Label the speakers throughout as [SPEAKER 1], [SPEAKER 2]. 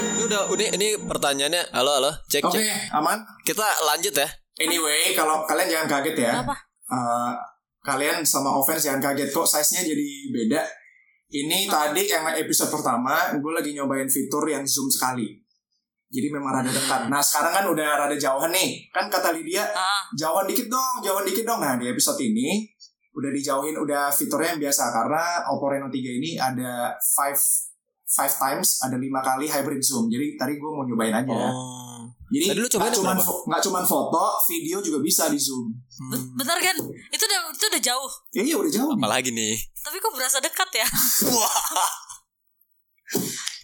[SPEAKER 1] Ini udah ini ini pertanyaannya. Halo halo, cek
[SPEAKER 2] Oke,
[SPEAKER 1] cek.
[SPEAKER 2] aman.
[SPEAKER 1] Kita lanjut ya.
[SPEAKER 2] Anyway, kalau kalian jangan kaget ya.
[SPEAKER 3] Kenapa?
[SPEAKER 2] Eh, kalian sama offense jangan kaget kok size-nya jadi beda. Ini tadi yang episode pertama, gue lagi nyobain fitur yang zoom sekali. Jadi memang rada dekat. Nah sekarang kan udah rada jauhan nih. Kan kata Lydia,
[SPEAKER 3] Ah,
[SPEAKER 2] jauhan dikit dong, jauhan dikit dong. Nah di episode ini udah dijauhin, udah fiturnya yang biasa karena Oppo Reno 3 ini ada five five times, ada lima kali hybrid zoom. Jadi tadi gue mau nyobain aja.
[SPEAKER 1] Oh.
[SPEAKER 2] Jadi
[SPEAKER 1] Tadi lu cobain
[SPEAKER 2] nggak cuman
[SPEAKER 1] berapa?
[SPEAKER 2] fo- nggak cuman foto, video juga bisa di zoom.
[SPEAKER 1] Hmm.
[SPEAKER 3] benar kan? Itu udah itu udah jauh.
[SPEAKER 2] Ya iya udah jauh. nih.
[SPEAKER 1] Apalagi nih.
[SPEAKER 3] Tapi kok berasa dekat ya?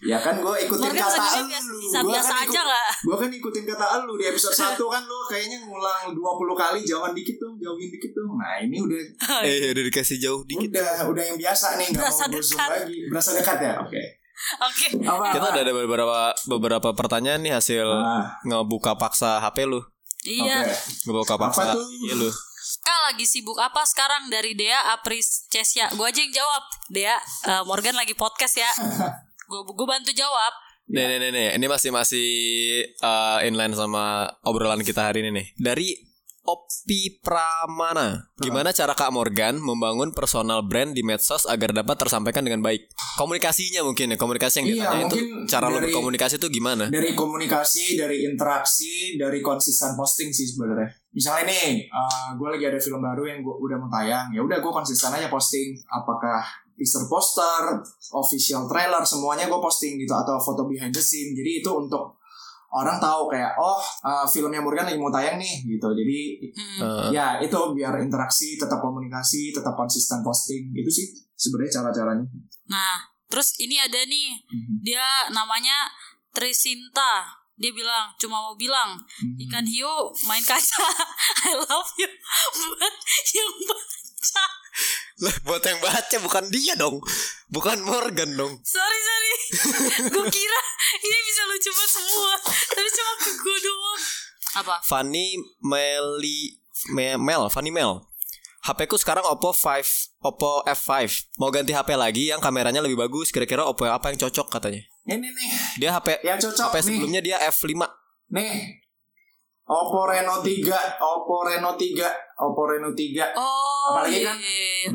[SPEAKER 2] Ya kan gue ikutin
[SPEAKER 3] Morgan
[SPEAKER 2] kata
[SPEAKER 3] sebenarnya
[SPEAKER 2] lu.
[SPEAKER 3] biasa, bisa
[SPEAKER 2] Gua
[SPEAKER 3] biasa
[SPEAKER 2] kan
[SPEAKER 3] aja
[SPEAKER 2] ikut-
[SPEAKER 3] nggak?
[SPEAKER 2] Gua kan ikutin kata lu di episode 1 kan lu kayaknya ngulang 20 kali jauhan dikit dong, jauhin dikit dong. Nah, ini udah
[SPEAKER 1] Eh, udah dikasih jauh dikit.
[SPEAKER 2] udah udah yang biasa nih, enggak
[SPEAKER 3] Berasa
[SPEAKER 2] mau berzoom
[SPEAKER 3] dekat.
[SPEAKER 2] lagi. Berasa dekat ya? Oke.
[SPEAKER 3] Oke.
[SPEAKER 2] Apa?
[SPEAKER 1] Kita
[SPEAKER 2] apa?
[SPEAKER 1] udah ada beberapa beberapa pertanyaan nih hasil
[SPEAKER 2] Ah,
[SPEAKER 1] ngebuka paksa HP lu.
[SPEAKER 3] Iya.
[SPEAKER 2] oke.
[SPEAKER 1] Ngebuka paksa
[SPEAKER 2] tuh?
[SPEAKER 1] iya lu.
[SPEAKER 3] Kak lagi sibuk apa sekarang dari Dea Apris Cesia? Gue aja yang jawab. Dea eh, Morgan lagi podcast ya. Gue gue bantu jawab.
[SPEAKER 1] Nih,
[SPEAKER 2] Ya.
[SPEAKER 1] nih, nih, nih. Ini masih masih eh, inline sama obrolan kita hari ini nih. Dari Opi Pramana. Gimana cara Kak Morgan membangun personal brand di medsos agar dapat tersampaikan dengan baik? Komunikasinya mungkin ya, komunikasi yang
[SPEAKER 2] Iya,
[SPEAKER 1] ditanya itu
[SPEAKER 2] mungkin
[SPEAKER 1] cara lo
[SPEAKER 2] dari-
[SPEAKER 1] berkomunikasi itu gimana?
[SPEAKER 2] Dari komunikasi, dari interaksi, dari konsisten posting sih sebenarnya. Misalnya nih, gue lagi ada film baru yang gua udah mau tayang. Ya udah gue konsisten aja posting. Apakah teaser poster, official trailer, semuanya gue posting gitu atau foto behind the scene. Jadi itu untuk orang tahu kayak oh uh, filmnya Morgan lagi mau tayang nih gitu. Jadi
[SPEAKER 3] Hmm.
[SPEAKER 1] Eh,
[SPEAKER 2] ya itu biar interaksi, tetap komunikasi, tetap konsisten posting. Itu sih sebenarnya cara-caranya.
[SPEAKER 3] Nah, terus ini ada nih.
[SPEAKER 2] Mhm.
[SPEAKER 3] Dia namanya Trisinta. Dia bilang cuma mau bilang
[SPEAKER 2] Mhm.
[SPEAKER 3] ikan hiu main kaca. I love you buat yang baca.
[SPEAKER 1] Lah, buat yang baca bukan dia dong. Bukan Morgan dong.
[SPEAKER 3] Sorry sorry. gue kira ini bisa lucu banget semua, tapi cuma ke gue doang. Apa?
[SPEAKER 1] Fanny Meli Me- Mel, Fanny Mel. HP ku sekarang Oppo 5, Oppo F5. Mau ganti HP lagi yang kameranya lebih bagus. Kira-kira Oppo apa yang cocok katanya?
[SPEAKER 2] Ini nih
[SPEAKER 1] Dia HP
[SPEAKER 2] yang cocok
[SPEAKER 1] HP
[SPEAKER 2] nih.
[SPEAKER 1] sebelumnya dia F5.
[SPEAKER 2] Nih. Oppo Reno 3, Oppo Reno 3, Oppo Reno 3.
[SPEAKER 3] Oh,
[SPEAKER 2] Apalagi
[SPEAKER 3] iya.
[SPEAKER 2] kan?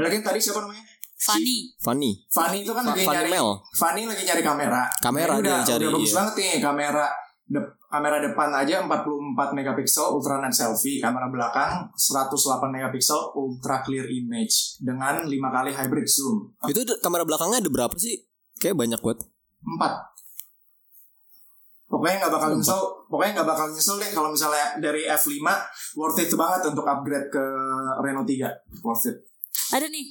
[SPEAKER 2] Apalagi tadi siapa namanya?
[SPEAKER 3] Funny.
[SPEAKER 1] Fanny.
[SPEAKER 2] Fani itu kan
[SPEAKER 1] Fa-
[SPEAKER 2] lagi
[SPEAKER 1] Fanny
[SPEAKER 2] nyari
[SPEAKER 1] Mel.
[SPEAKER 2] Fani lagi nyari kamera.
[SPEAKER 1] Kamera dia
[SPEAKER 2] Ini udah,
[SPEAKER 1] yang cari,
[SPEAKER 2] udah bagus
[SPEAKER 1] iya.
[SPEAKER 2] banget nih kamera de- kamera depan aja 44 megapiksel ultra night selfie, kamera belakang 108 megapiksel ultra clear image dengan 5 kali hybrid zoom.
[SPEAKER 1] Itu d- kamera belakangnya ada berapa sih? Kayak banyak banget.
[SPEAKER 2] 4 Pokoknya nggak bakal nyesel, pokoknya nggak bakal nyesel deh kalau misalnya dari F5 worth it banget untuk upgrade ke Reno 3. Worth it.
[SPEAKER 3] Ada nih.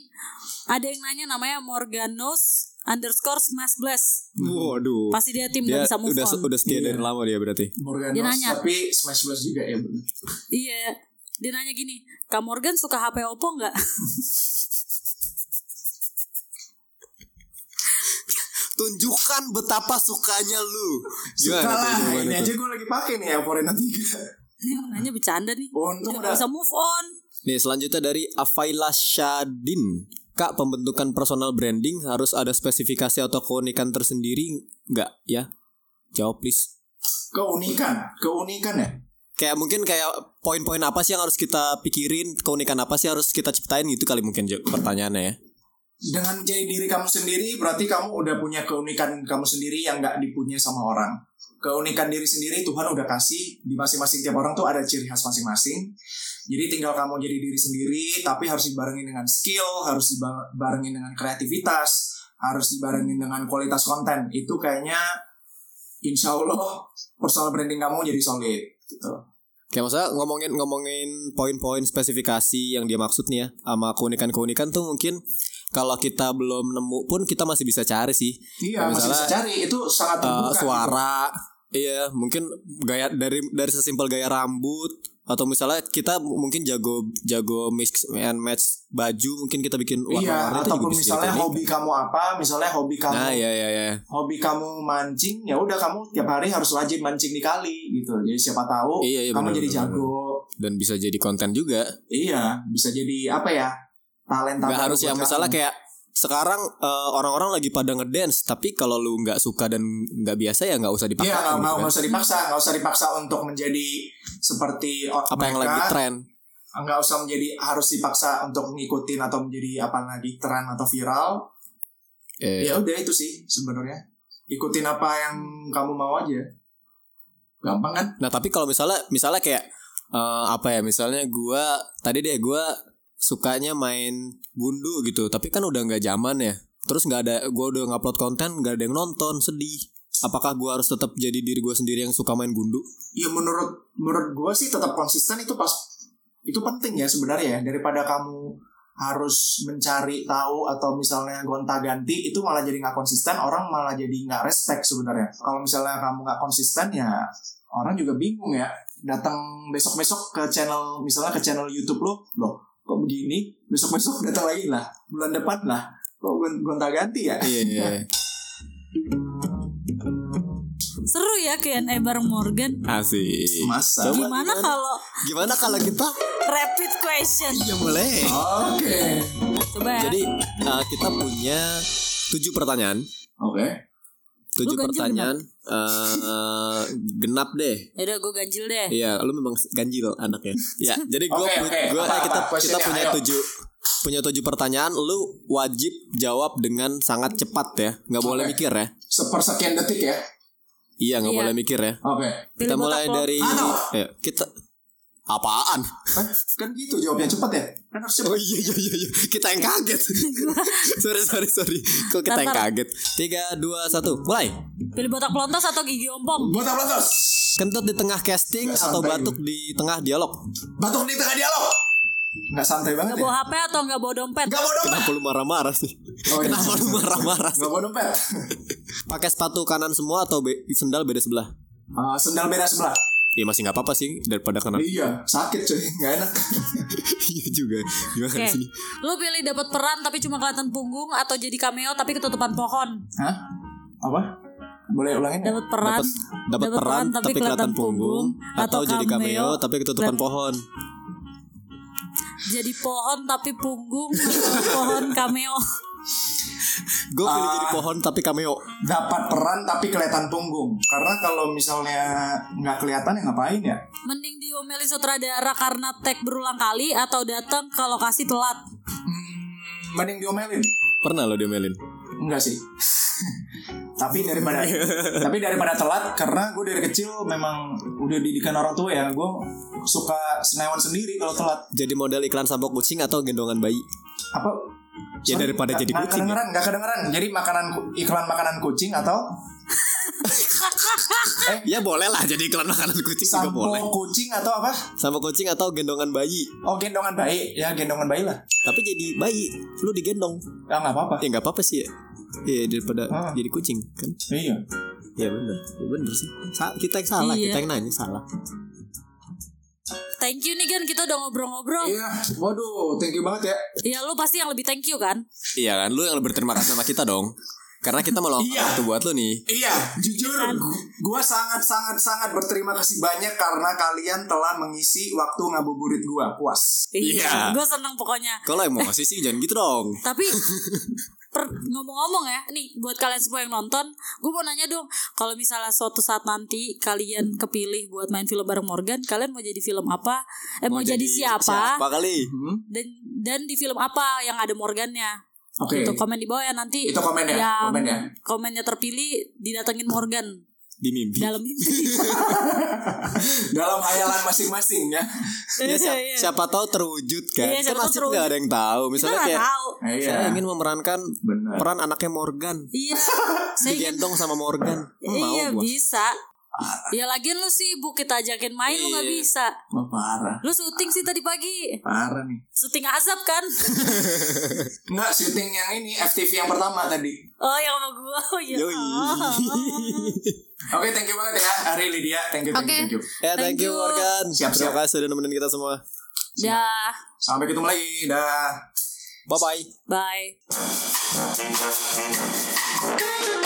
[SPEAKER 3] Ada yang nanya namanya Morganos underscore smash blast.
[SPEAKER 1] Waduh.
[SPEAKER 3] Pasti dia tim gak bisa move on.
[SPEAKER 1] setia
[SPEAKER 2] dari
[SPEAKER 1] lama dia berarti.
[SPEAKER 2] Morganos,
[SPEAKER 3] Dia nanya.
[SPEAKER 2] tapi Smash Bros juga ya. bener.
[SPEAKER 3] Iya. Dia nanya gini, Kak Morgan suka HP Oppo nggak?
[SPEAKER 1] Tunjukkan betapa sukanya lu.
[SPEAKER 2] Suka lah, ini aja gue lagi pakai nih Oppo Reno 3.
[SPEAKER 3] Ini yang nanya bercanda nih.
[SPEAKER 2] Oh, Untung
[SPEAKER 3] Udah nggak
[SPEAKER 2] udah
[SPEAKER 3] bisa move on.
[SPEAKER 1] Nih selanjutnya dari Availa Shadin Kak pembentukan personal branding harus ada spesifikasi atau keunikan tersendiri nggak ya? Jawab please
[SPEAKER 2] keunikan, keunikan ya.
[SPEAKER 1] Kayak mungkin kayak poin-poin apa sih yang harus kita pikirin Keunikan apa sih harus kita ciptain gitu kali mungkin Jo- pertanyaannya ya
[SPEAKER 2] Dengan menjadi diri kamu sendiri berarti kamu udah punya keunikan kamu sendiri yang nggak dipunya sama orang. Keunikan diri sendiri Tuhan udah kasih di masing-masing tiap orang tuh ada ciri khas masing-masing. Jadi tinggal kamu jadi diri sendiri tapi harus dibarengin dengan skill, harus dibarengin dengan kreativitas, harus dibarengin dengan kualitas konten. Itu kayaknya insya Allah personal branding kamu jadi solid. Gitu.
[SPEAKER 1] Kayak maksudnya ngomongin ngomongin poin-poin spesifikasi yang dia maksud nih ya sama keunikan-keunikan tuh mungkin kalau kita belum nemu pun kita masih bisa cari sih Kayak
[SPEAKER 2] Iya, masih
[SPEAKER 1] misalnya,
[SPEAKER 2] bisa cari. Itu sangat
[SPEAKER 1] Eh,
[SPEAKER 2] terbuka. gitu.
[SPEAKER 1] suara iya mungkin gaya dari dari sesimpel gaya rambut atau misalnya kita m- mungkin jago jago mix and match baju mungkin kita bikin
[SPEAKER 2] Iya,
[SPEAKER 1] warna-warni itu juga
[SPEAKER 2] ataupun
[SPEAKER 1] bisa
[SPEAKER 2] misalnya
[SPEAKER 1] jadi.
[SPEAKER 2] hobi kamu apa, misalnya hobi kamu
[SPEAKER 1] nah ya ya ya
[SPEAKER 2] hobi kamu mancing, ya udah kamu tiap hari harus rajin mancing di kali gitu. Jadi siapa tahu
[SPEAKER 1] Iya, iya,
[SPEAKER 2] kamu
[SPEAKER 1] benar,
[SPEAKER 2] jadi
[SPEAKER 1] benar,
[SPEAKER 2] jago.
[SPEAKER 1] dan bisa jadi konten juga
[SPEAKER 2] Iya, bisa jadi apa ya? Talenta
[SPEAKER 1] nggak
[SPEAKER 2] baru
[SPEAKER 1] harus
[SPEAKER 2] buat
[SPEAKER 1] yang
[SPEAKER 2] kamu. Iya,
[SPEAKER 1] misalnya kayak sekarang eh, orang-orang lagi pada ngedance tapi kalau lu nggak suka dan nggak biasa ya nggak usah dipakai
[SPEAKER 2] Iya, nggak
[SPEAKER 1] gitu
[SPEAKER 2] mau
[SPEAKER 1] kan.
[SPEAKER 2] nggak usah dipaksa, nggak usah dipaksa untuk menjadi seperti o-
[SPEAKER 1] apa yang
[SPEAKER 2] mereka.
[SPEAKER 1] lagi tren
[SPEAKER 2] Nggak usah menjadi harus dipaksa untuk ngikutin atau menjadi apa lagi tren atau viral.
[SPEAKER 1] Eh,
[SPEAKER 2] Ya udah itu sih sebenarnya. Ikutin apa yang kamu mau aja. Gampang kan?
[SPEAKER 1] Nah tapi kalau misalnya misalnya kayak eh, apa ya misalnya gua tadi deh gua sukanya main gundu gitu tapi kan udah nggak zaman ya terus nggak ada gua udah ngupload konten nggak ada yang nonton sedih apakah gua harus tetap jadi diri gua sendiri yang suka main gundu
[SPEAKER 2] Ya menurut menurut gue sih tetap konsisten itu pas itu penting ya sebenarnya ya daripada kamu harus mencari tahu atau misalnya gonta-ganti itu malah jadi nggak konsisten orang malah jadi nggak respect sebenarnya kalau misalnya kamu nggak konsisten ya orang juga bingung ya datang besok-besok ke channel misalnya ke channel YouTube lo loh kok begini besok-besok datang lagi lah bulan depan lah kok gon- gonta-ganti ya
[SPEAKER 1] iya iya
[SPEAKER 3] Seru ya Q&A bareng Morgan.
[SPEAKER 1] asik
[SPEAKER 2] masa
[SPEAKER 1] Coba
[SPEAKER 3] Gimana kalau
[SPEAKER 1] gimana kalau kita
[SPEAKER 3] rapid question?
[SPEAKER 1] ya boleh
[SPEAKER 2] oke
[SPEAKER 3] Coba ya.
[SPEAKER 1] jadi eh, kita punya tujuh pertanyaan
[SPEAKER 2] oke
[SPEAKER 1] tujuh
[SPEAKER 3] ganjil
[SPEAKER 1] pertanyaan eh, genap deh
[SPEAKER 3] Yaudah gue ganjil deh.
[SPEAKER 1] Iya, lu memang ganjil anaknya. Iya, jadi gua
[SPEAKER 2] Oke,
[SPEAKER 1] pu-
[SPEAKER 2] oke.
[SPEAKER 1] gua- kita
[SPEAKER 2] Apa, apa?
[SPEAKER 1] kita
[SPEAKER 2] Questionnya,
[SPEAKER 1] punya
[SPEAKER 2] ayo.
[SPEAKER 1] tujuh punya tujuh pertanyaan, lu wajib jawab dengan sangat cepat ya, nggak boleh
[SPEAKER 2] Oke.
[SPEAKER 1] mikir ya.
[SPEAKER 2] sepersekian detik ya
[SPEAKER 1] Iya, nggak
[SPEAKER 3] Iya.
[SPEAKER 1] boleh mikir ya.
[SPEAKER 2] oke
[SPEAKER 1] Kita
[SPEAKER 3] Pilih botak
[SPEAKER 1] mulai
[SPEAKER 3] lo.
[SPEAKER 1] dari
[SPEAKER 2] Ano?
[SPEAKER 1] Ayo, kita apaan?
[SPEAKER 2] Hah? kan gitu jawabnya cepat ya kan harus
[SPEAKER 1] Oh
[SPEAKER 2] cepat
[SPEAKER 1] iya iya iya, iya. kita yang kaget. sorry sorry sorry, kok kita yang
[SPEAKER 3] Ntar.
[SPEAKER 1] kaget. Tiga dua satu, mulai.
[SPEAKER 3] Pilih botak pelontos atau gigi ompong?
[SPEAKER 2] Botak Blatos
[SPEAKER 1] Kentut di tengah casting
[SPEAKER 2] Nggak
[SPEAKER 1] atau
[SPEAKER 2] santai
[SPEAKER 1] batuk di tengah dialog?
[SPEAKER 2] Batuk di tengah dialog Nggak santai banget ya
[SPEAKER 3] Gak bawa HP atau gak bawa dompet?
[SPEAKER 2] Nggak mau dompet
[SPEAKER 1] Kenapa lu marah-marah sih?
[SPEAKER 2] Oh, iya.
[SPEAKER 1] Kenapa lu marah-marah?
[SPEAKER 2] Nggak mau dompet
[SPEAKER 1] Pakai sepatu kanan semua atau be- sendal beda sebelah?
[SPEAKER 2] Ah, Sendal beda sebelah
[SPEAKER 1] Ya masih nggak apa-apa sih daripada kena
[SPEAKER 2] Iya sakit cuy Nggak enak
[SPEAKER 1] Iya juga Gimana
[SPEAKER 3] Oke.
[SPEAKER 1] di sini
[SPEAKER 3] Lu pilih dapat peran tapi cuma kelihatan punggung atau jadi cameo tapi ketutupan pohon?
[SPEAKER 2] Hah? Apa? Boleh ulangin nggak?
[SPEAKER 3] Dapat peran.
[SPEAKER 1] Dapat dapat peran tapi kelihatan punggung Atau jadi cameo tapi ketutupan
[SPEAKER 3] Kelihatan-
[SPEAKER 1] pohon
[SPEAKER 3] Jadi pohon tapi punggung atau pohon cameo.
[SPEAKER 1] Gue pilih
[SPEAKER 2] Ah.
[SPEAKER 1] jadi pohon tapi cameo
[SPEAKER 2] Dapat peran tapi kelihatan punggung Karena kalau misalnya Nggak kelihatan ya ngapain ya
[SPEAKER 3] Mending diomelin sutradara karena tag berulang kali atau datang ke lokasi telat.
[SPEAKER 2] Hmm, Mending diomelin
[SPEAKER 1] Pernah lo diomelin
[SPEAKER 2] Enggak sih. tapi daripada tapi daripada telat karena gue dari kecil memang udah didikan orang tua ya gue suka senewan sendiri kalau telat
[SPEAKER 1] Jadi model iklan sabok kucing atau gendongan bayi
[SPEAKER 2] apa
[SPEAKER 1] Ya, daripada
[SPEAKER 2] nggak-
[SPEAKER 1] jadi
[SPEAKER 2] nggak
[SPEAKER 1] kucing,
[SPEAKER 2] kedengeran nggak kedengeran jadi makanan ku- iklan makanan kucing atau
[SPEAKER 1] Ya boleh lah jadi iklan makanan kucing juga
[SPEAKER 2] sampo
[SPEAKER 1] boleh
[SPEAKER 2] kucing atau apa
[SPEAKER 1] Sampo kucing atau gendongan bayi
[SPEAKER 2] oh gendongan bayi ya gendongan bayi lah
[SPEAKER 1] Tapi jadi bayi Lu digendong
[SPEAKER 2] ya nggak apa-apa
[SPEAKER 1] Ya nggak apa-apa sih ya Iya daripada
[SPEAKER 2] Ah.
[SPEAKER 1] jadi kucing kan
[SPEAKER 2] iya
[SPEAKER 1] Ya bener ya, bener sih Sa- Kita yang salah
[SPEAKER 3] Iya.
[SPEAKER 1] Kita yang nanya salah
[SPEAKER 3] Thank you nih Gan, kita udah ngobrol-ngobrol.
[SPEAKER 2] iya waduh thank you banget ya
[SPEAKER 3] Ya lu pasti yang lebih thank you kan?
[SPEAKER 1] Iya kan Lu yang berterima kasih sama kita dong karena kita melakukan
[SPEAKER 2] Iya.
[SPEAKER 1] itu buat lo nih
[SPEAKER 2] Iya, jujur, gu- gua sangat sangat sangat berterima kasih banyak karena kalian telah mengisi waktu ngabuburit gua puas.
[SPEAKER 1] Iya.
[SPEAKER 3] Gue seneng pokoknya.
[SPEAKER 1] Kalau emosi sih jangan gitu dong
[SPEAKER 3] Tapi per- ngomong-ngomong ya, nih buat kalian semua yang nonton, gue mau nanya dong, kalau misalnya suatu saat nanti kalian kepilih buat main film bareng Morgan, kalian mau jadi film apa? Eh mau, jadi, siapa?
[SPEAKER 1] Siapa kali?
[SPEAKER 2] Hmm,
[SPEAKER 3] Dan dan di film apa yang ada Morgannya?
[SPEAKER 2] Oke.
[SPEAKER 3] Itu komen di bawah ya nanti.
[SPEAKER 2] Hmm. Itu komen ya,
[SPEAKER 3] yang
[SPEAKER 2] komen ya.
[SPEAKER 3] Komennya terpilih didatengin Morgan
[SPEAKER 1] Di mimpi.
[SPEAKER 3] dalam mimpi.
[SPEAKER 2] Dalam hayalan masing-masing ya.
[SPEAKER 1] Ya, siapa,
[SPEAKER 3] Iya.
[SPEAKER 1] siapa tahu terwujud kan? kan
[SPEAKER 3] Iya, siapa tahu
[SPEAKER 1] masih
[SPEAKER 3] terwujud.
[SPEAKER 1] nggak ada yang tahu.
[SPEAKER 3] Kita
[SPEAKER 1] Misalnya
[SPEAKER 3] nggak
[SPEAKER 1] kayak
[SPEAKER 3] tahu.
[SPEAKER 2] Nah, iya.
[SPEAKER 1] saya ingin memerankan
[SPEAKER 2] Bener.
[SPEAKER 1] peran anaknya Morgan.
[SPEAKER 3] Iya. Saya ingin
[SPEAKER 1] Digendong sama Morgan. Hmm, mau
[SPEAKER 3] iya
[SPEAKER 1] gua.
[SPEAKER 3] bisa. Ya lagian lu sibuk kita ajakin main lu nggak
[SPEAKER 1] Iya.
[SPEAKER 3] bisa.
[SPEAKER 2] Wah, parah.
[SPEAKER 3] Lu syuting sih tadi pagi.
[SPEAKER 2] Parah nih.
[SPEAKER 3] Syuting azab kan?
[SPEAKER 2] Enggak syuting yang ini FTV yang pertama tadi.
[SPEAKER 3] Oh yang sama gua. Oh, ya.
[SPEAKER 1] Yoi.
[SPEAKER 2] Oke, thank you banget ya Ari Lydia. Thank you, thank you,
[SPEAKER 3] Oke.
[SPEAKER 2] thank you.
[SPEAKER 1] ya, thank,
[SPEAKER 3] Thank
[SPEAKER 1] you
[SPEAKER 3] you.
[SPEAKER 1] Morgan.
[SPEAKER 2] Siap,
[SPEAKER 1] Terima
[SPEAKER 2] siap.
[SPEAKER 1] kasih sudah nemenin kita semua.
[SPEAKER 3] Dah.
[SPEAKER 2] Sampai ketemu lagi. Dah.
[SPEAKER 1] Bye bye.
[SPEAKER 3] Bye.
[SPEAKER 4] Thank